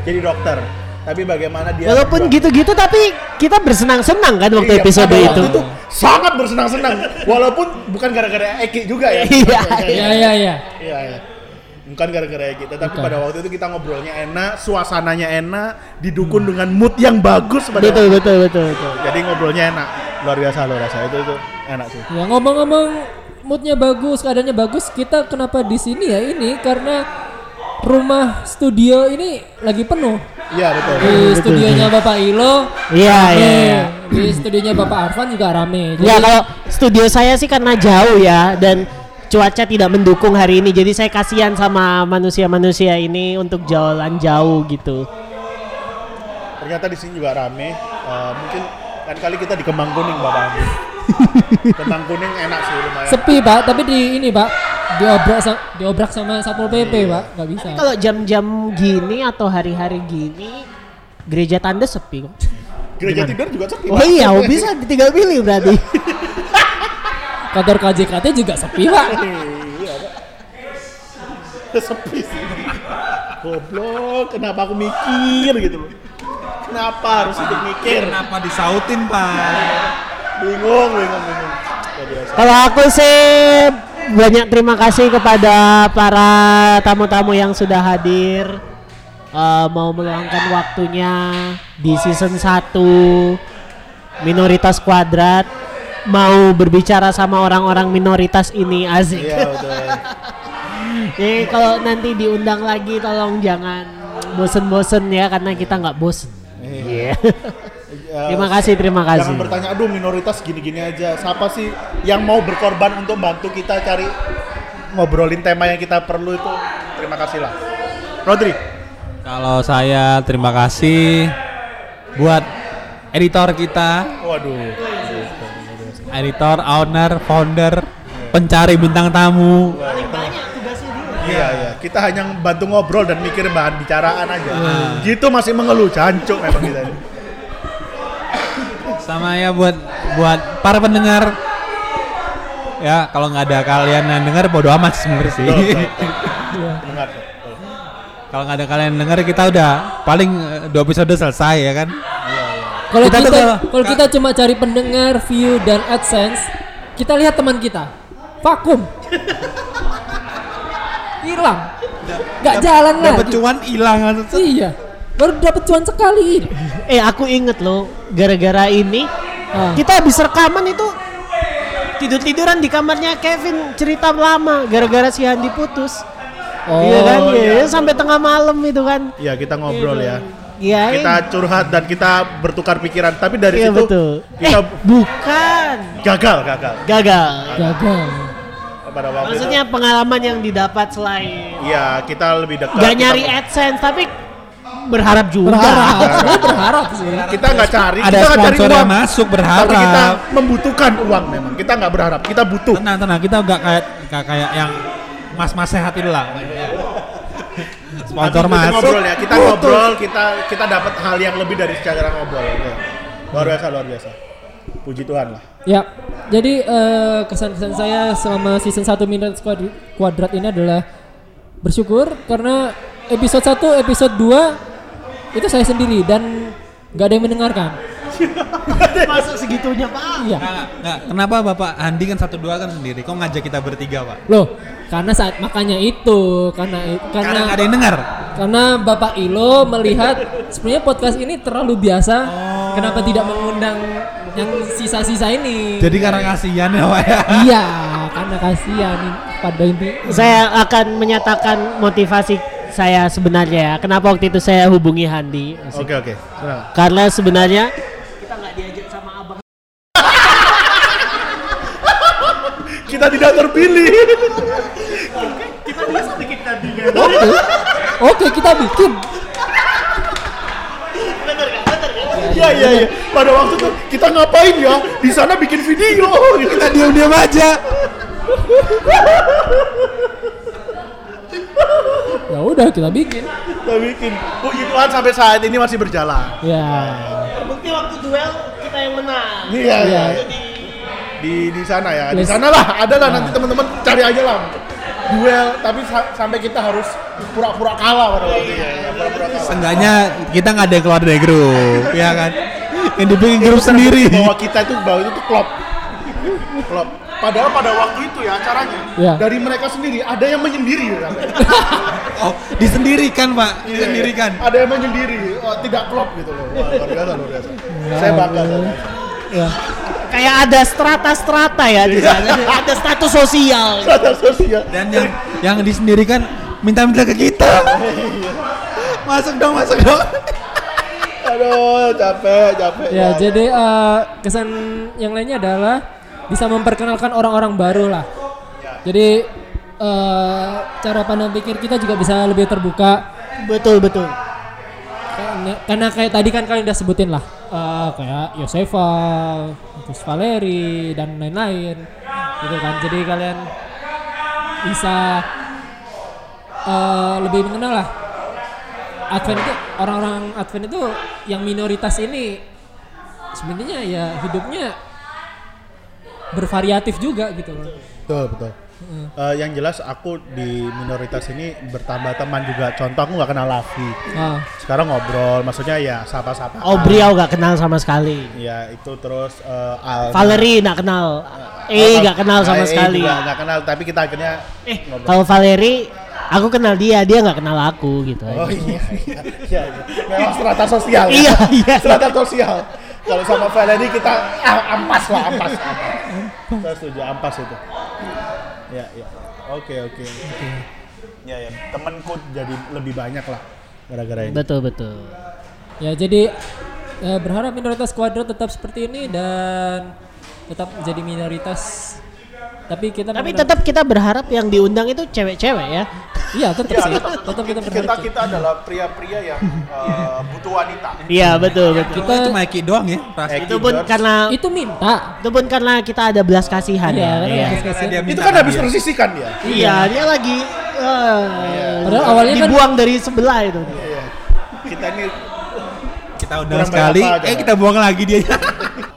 jadi dokter. Tapi bagaimana dia
Walaupun gitu gitu-gitu tapi kita bersenang-senang kan waktu
Iya,
episode
pada
itu.
waktu sangat bersenang-senang walaupun bukan gara-gara Eki juga ya
Iya,
Ya ya ya.
iya iya. bukan gara-gara Eki tetapi
Bukan.
pada waktu itu kita ngobrolnya enak suasananya enak didukung dengan mood yang bagus pada waktu
Betul,
itu.
betul, betul, betul.
jadi ngobrolnya enak luar biasa luar biasa itu itu enak sih
Ya ngomong-ngomong moodnya bagus, keadaannya bagus. Kita kenapa di sini ya ini karena rumah studio ini lagi penuh.
iya betul
Di studionya Bapak Ilo.
Iya,
rame.
iya, iya.
Di studionya Bapak Arfan juga rame. Jadi,
Ya kalau studio saya sih karena jauh ya dan cuaca tidak mendukung hari ini jadi saya kasihan sama manusia-manusia ini untuk jalan jauh gitu.
ternyata di sini juga rame Eh, mungkin kan kali kita di Kembang Kuning Bapak Andi Kembang Kuning enak sih lumayan
sepi Pak, tapi di ini Pak diobrak sa- diobrak sama Satpol PP Pak, nggak bisa.
Kalau jam-jam gini atau hari-hari gini gereja tanda sepi kok.
gereja tidur juga sepi
Oh
Pak.
iya, oh, bisa ditinggal pilih berarti.
Kantor KJKT juga sepi Pak.
Iya, Pak. Sepi sih. Goblok, kenapa aku mikir gitu loh. Kenapa harus ikut mikir?
Kenapa disautin, Pak?
Bingung, bingung, bingung. Luar biasa.
Kalau aku sih banyak terima kasih kepada para tamu-tamu yang sudah hadir eh, mau meluangkan waktunya di season 1 minoritas kuadrat mau berbicara sama orang-orang minoritas ini asik.
Iya, betul.
Jadi Ya, kalau nanti diundang lagi tolong jangan bosen-bosen ya karena kita nggak bosen. Iya.
Eh,
terima kasih, terima kasih.
Jangan bertanya, aduh minoritas gini-gini aja. Siapa sih yang mau berkorban untuk bantu kita cari ngobrolin tema yang kita perlu itu? Terima kasih lah. Rodri,
Kalau saya terima kasih buat editor kita,
waduh.
editor, owner, founder, pencari bintang tamu.
Iya, iya. Kita hanya bantu ngobrol dan mikir bahan bicaraan aja.
Iya.
Gitu masih mengeluh, jancuk memang kita ini.
Sama ya buat buat para pendengar. Ya, kalau nggak ada kalian yang denger bodo amat sebenarnya sih.
Dengar.
kalau nggak ada kalian yang denger kita udah paling eh, dua episode selesai ya kan.
Kalau
Kita
kita,
tuh kalau- Ah.
kalau kita cuma cari pendengar, view dan AdSense, kita lihat teman kita. vakum hilang nggak
Dap-
jalan
Dapet
lagi
cuan hilang kan.
iya baru dapat cuan sekali ini
Eh aku inget loh, gara-gara ini
Ah.
kita habis rekaman itu tidur-tiduran di kamarnya Kevin cerita lama gara-gara si Handi putus. iya kan?
iya.
Iya, sampai tengah malam itu kan.
Iya kita ngobrol ya.
Iya.
Kita curhat dan kita bertukar pikiran. Tapi dari
iya
situ
betul.
kita
Eh, bukan.
gagal, gagal.
Gagal.
gagal
Pada waktu
Maksudnya
itu.
pengalaman yang didapat selain
Iya kita lebih dekat.
gak
kita-
nyari AdSense tapi berharap juga.
berharap sebenarnya berharap sih
Kita nggak cari.
Ada
kita nggak cari
sponsor yang
uang.
masuk
Tapi kita
berharap.
membutuhkan uang memang. Kita nggak berharap. Kita butuh.
Tenang tenang kita nggak kayak nggak kayak yang mas-mas sehat itu lah.
Habis itu
Sponsor masuk.
ngobrol ya. Kita
putus.
ngobrol. Kita kita dapat hal yang lebih dari secara ngobrol. Oke. Luar biasa, luar biasa. Puji Tuhan lah.
ya jadi eh, kesan-kesan saya selama season 1 Midnight Squad- Quadrat ini adalah bersyukur karena episode 1 episode 2 itu saya sendiri dan nggak ada yang mendengarkan
Masuk segitunya, Pak.
iya
Nggak, nggak, nggak. Kenapa Bapak Andi kan satu dua kan sendiri? Kok ngajak kita bertiga Pak?
Loh, karena saat makanya itu, karena karena
Karena nggak ada yang dengar.
karena Bapak Ilo melihat sebenarnya podcast ini terlalu biasa.
Oh.
Kenapa tidak mengundang yang sisa-sisa ini?
Jadi karena kasihan ya Pak ya.
iya, karena kasihan pada inti.
Saya akan menyatakan motivasi saya sebenarnya ya. Kenapa waktu itu saya hubungi Handi?
Oke, oke. Senang.
Karena sebenarnya
Kita tidak terpilih.
Oke. Oke, kita bikin.
Iya, iya, iya. Pada waktu itu kita ngapain ya? Di sana bikin video.
Kita diam-diam aja.
Ya udah, kita bikin.
Kita bikin. Puji Tuhan sampai saat ini masih berjalan.
Ya.
Terbukti waktu duel kita yang menang.
Iya, iya. Di di sana ya. Di sana lah. Ada lah nanti teman-teman cari aja lah. Duel, tapi sa- sampai kita harus pura-pura kalah pada waktu itu. ya. Pura-pura kalah.
Seenggaknya kita nggak ada yang keluar dari grup, ya kan? Yang dibikin grup sendiri.
bahwa kita itu bahwa itu tuh klop klop padahal pada waktu itu ya acaranya
Iya.
dari mereka sendiri ada yang menyendiri ya, Rame.
Oh, disendirikan Pak, disendirikan.
ada yang menyendiri oh, tidak klop gitu loh Wah, luar biasa luar biasa saya bangga saya bangga.
Ya.
Kayak ada strata-strata ya di sana. ada status sosial.
Tata sosial
Dan yang yang disendirikan minta-minta ke kita. Masuk dong, masuk dong.
aduh capek capek
Ya, jadi eh, kesan yang lainnya adalah bisa memperkenalkan orang-orang baru lah.
Ya.
Jadi eh, cara pandang pikir kita juga bisa lebih terbuka.
Betul betul.
Karena, karena kayak tadi kan kalian udah sebutin lah eh, kayak Yosefa, terus Valeri dan lain-lain gitu kan. Jadi kalian bisa eh, lebih mengenal lah Advent itu orang-orang Advent itu yang minoritas ini sebenarnya ya hidupnya bervariatif juga gitu loh.
betul betul Eh, yang jelas aku di minoritas ini bertambah teman juga contoh aku nggak kenal Lavi
Ah,
sekarang ngobrol maksudnya ya sapa-sapa
Obriau gak kenal sama sekali.
ya itu terus eh, Al
Valerie gak kenal. Eh gak kenal sama sekali.
Gak kenal, tapi kita akhirnya
Eh
ngobrol.
kalau Valerie aku kenal dia, dia nggak kenal aku gitu.
Oh
aja.
iya, iya, iya, iya. Memang strata sosial.
Iya, iya.
Strata sosial. Kalau sama Valerie kita ah, ampas lah, ampas. ampas. Saya setuju, ampas itu. Ya, ya. Oke, oke. Ya, ya. Temanku jadi lebih banyak lah gara-gara ini.
Betul betul.
Ya jadi eh, berharap minoritas kuadrat tetap seperti ini dan tetap menjadi minoritas. Tapi kita
Tapi
mengenal-
tetap kita berharap yang diundang itu cewek-cewek ya.
iya tetap sih tetap kita
Kita
berharap.
kita adalah pria-pria yang eh, butuh wanita.
Iya betul betul.
Kita cuma Eki doang ya,
Eh,
perasaan.
Itu pun karena
Itu minta.
itu pun karena kita ada belas kasihan
Iya,
ya.
karena
Iya.
belas
Karena dia
Itu
minta
kan
sama
habis
dia.
tersisihkan dia.
Iya, dia lagi eh,
Padahal awalnya kan-
dibuang dari sebelah itu.
Iya. Kita ini
Kita undang
Kurang
sekali,
berapa aja.
eh kita buang lagi dia.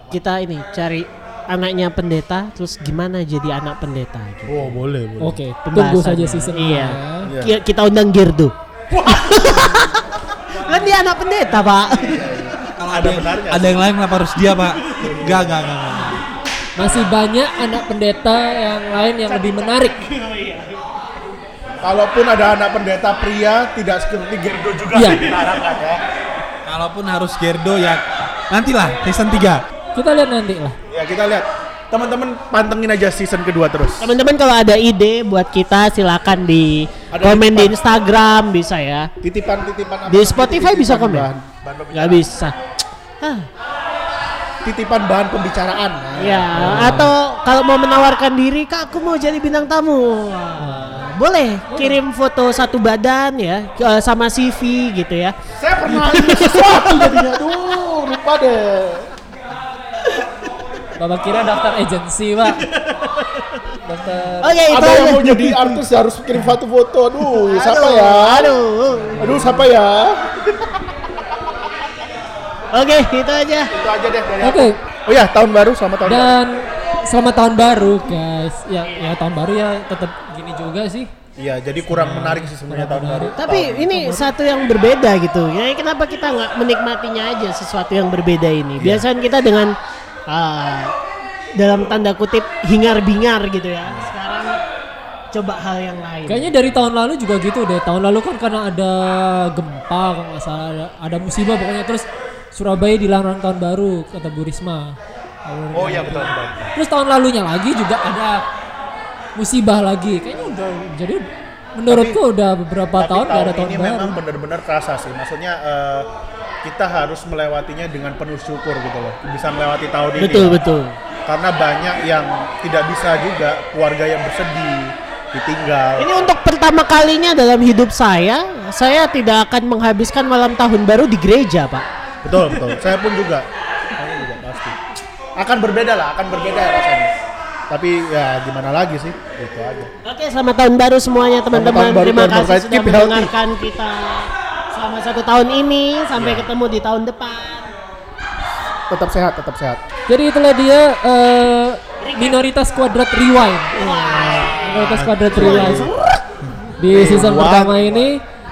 Kita ini cari anaknya pendeta, terus gimana jadi anak pendeta? Gitu.
Oh, boleh, boleh.
Oke, tunggu saja
Pembahasannya.
season
Iya.
dua
Iya.
Ki- Kita undang Girdo. kan dia anak pendeta pak.
Kalau
Ada
ada yang,
benarnya.
ada yang lain kenapa harus dia Pak? Enggak, enggak, enggak.
masih banyak anak pendeta yang lain yang lebih menarik.
Kalaupun ada anak pendeta pria, tidak seperti Gerdo juga
Iya.
diharapkan ya.
Kalaupun harus Gerdo ya nantilah season 3.
Kita lihat nanti lah.
Ya kita lihat. Teman-teman pantengin aja season kedua terus.
Teman-teman kalau ada ide buat kita silakan di
Ada
komen
di
di
depan.
Instagram bisa ya.
Titipan-titipan apa
Di
namanya?
Spotify bisa ya?
Titipan
komen?
bahan- bahan
Gak
pembicaraan.
bisa. Ah, Hah,
Titipan bahan pembicaraan.
ya,
Ah.
atau kalau mau menawarkan diri, Kak, aku mau jadi bintang tamu.
Ah.
Wah, Boleh kirim foto satu badan ya eh, sama CV gitu ya.
Saya pernah ini sesuatu jadinya tuh, Oh, lupa deh.
Bapak kira daftar agensi, Pak. Daftar
Oke, Eh, itu
Ada yang
aja.
mau jadi artis ya harus kirim foto-foto. Aduh, siapa
Aduh,
ya?
Aduh.
Aduh, siapa ya?
Oke, itu aja.
Itu aja deh dari
Oke,
aku. Oh ya, tahun baru selamat tahun baru.
dan selamat tahun baru, guys. Ya, ya tahun baru ya tetap gini juga sih.
Iya, jadi kurang menarik sih sebenarnya tahun baru.
Tapi ini satu yang berbeda gitu. Ya kenapa kita nggak menikmatinya aja sesuatu yang berbeda ini? Biasanya kita dengan ah, dalam tanda kutip hingar-bingar gitu ya. Sekarang coba hal yang lain.
Kayaknya dari tahun lalu juga gitu deh. Tahun lalu kan karena ada gempa kalau nggak salah, ada, ada musibah pokoknya terus Surabaya dilarang tahun baru kata Bu Risma.
Oh iya betul. betul.
Terus tahun lalunya lagi juga ada musibah lagi. Kayaknya udah jadi menurutku udah beberapa
Tapi
tahun nggak ada tahun
ini
baru.
memang benar-benar terasa sih. Maksudnya eh, kita harus melewatinya dengan penuh syukur gitu loh. Bisa melewati tahun ini.
betul betul.
Karena banyak yang tidak bisa juga keluarga yang bersedih, ditinggal.
Ini untuk pertama kalinya dalam hidup saya, saya tidak akan menghabiskan malam tahun baru di gereja, Pak.
Betul betul. Saya pun juga. Saya juga pasti. Akan berbeda lah, akan berbeda ya rasanya. Tapi ya gimana lagi sih? Itu aja.
Oke, selamat tahun baru semuanya
tahun
teman-teman.
baru,
Terima
tahun
kasih
berkait.
sudah
Keep healthy.
mendengarkan kita selama satu tahun ini. Sampai ketemu di tahun depan.
Tetap sehat, tetap sehat.
Jadi itulah dia eh, minoritas kuadrat rewind. Minoritas kuadrat
Iya.
rewind di season
Rewind.
pertama ini.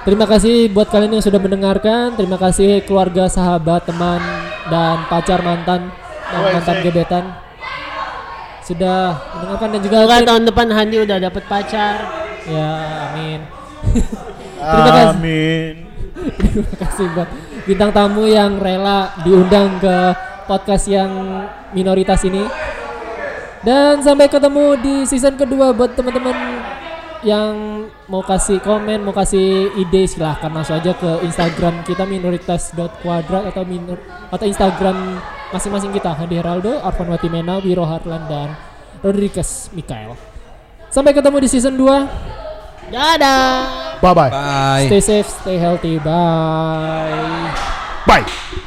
Terima kasih buat kalian yang sudah mendengarkan. Terima kasih keluarga, sahabat, teman, dan pacar mantan dan
Woi,
mantan
Zek.
gebetan sudah mendengarkan dan juga
Semoga tahun depan Handi udah dapet pacar.
ya amin. Terima kasih.
Amin.
Terima kasih buat bintang tamu yang rela diundang ke podcast yang minoritas ini. Dan sampai ketemu di season kedua buat teman-teman yang mau kasih komen, mau kasih ide silahkan langsung aja ke Instagram kita minoritas.quadrat atau minor atau Instagram masing-masing kita Hadi Heraldo, Arfan Watimena, Wiro Harlan dan Rodriguez Mikael. Sampai ketemu di season 2.
Dadah.
Bye bye.
Bye.
Stay safe, stay healthy. Bye.
Bye.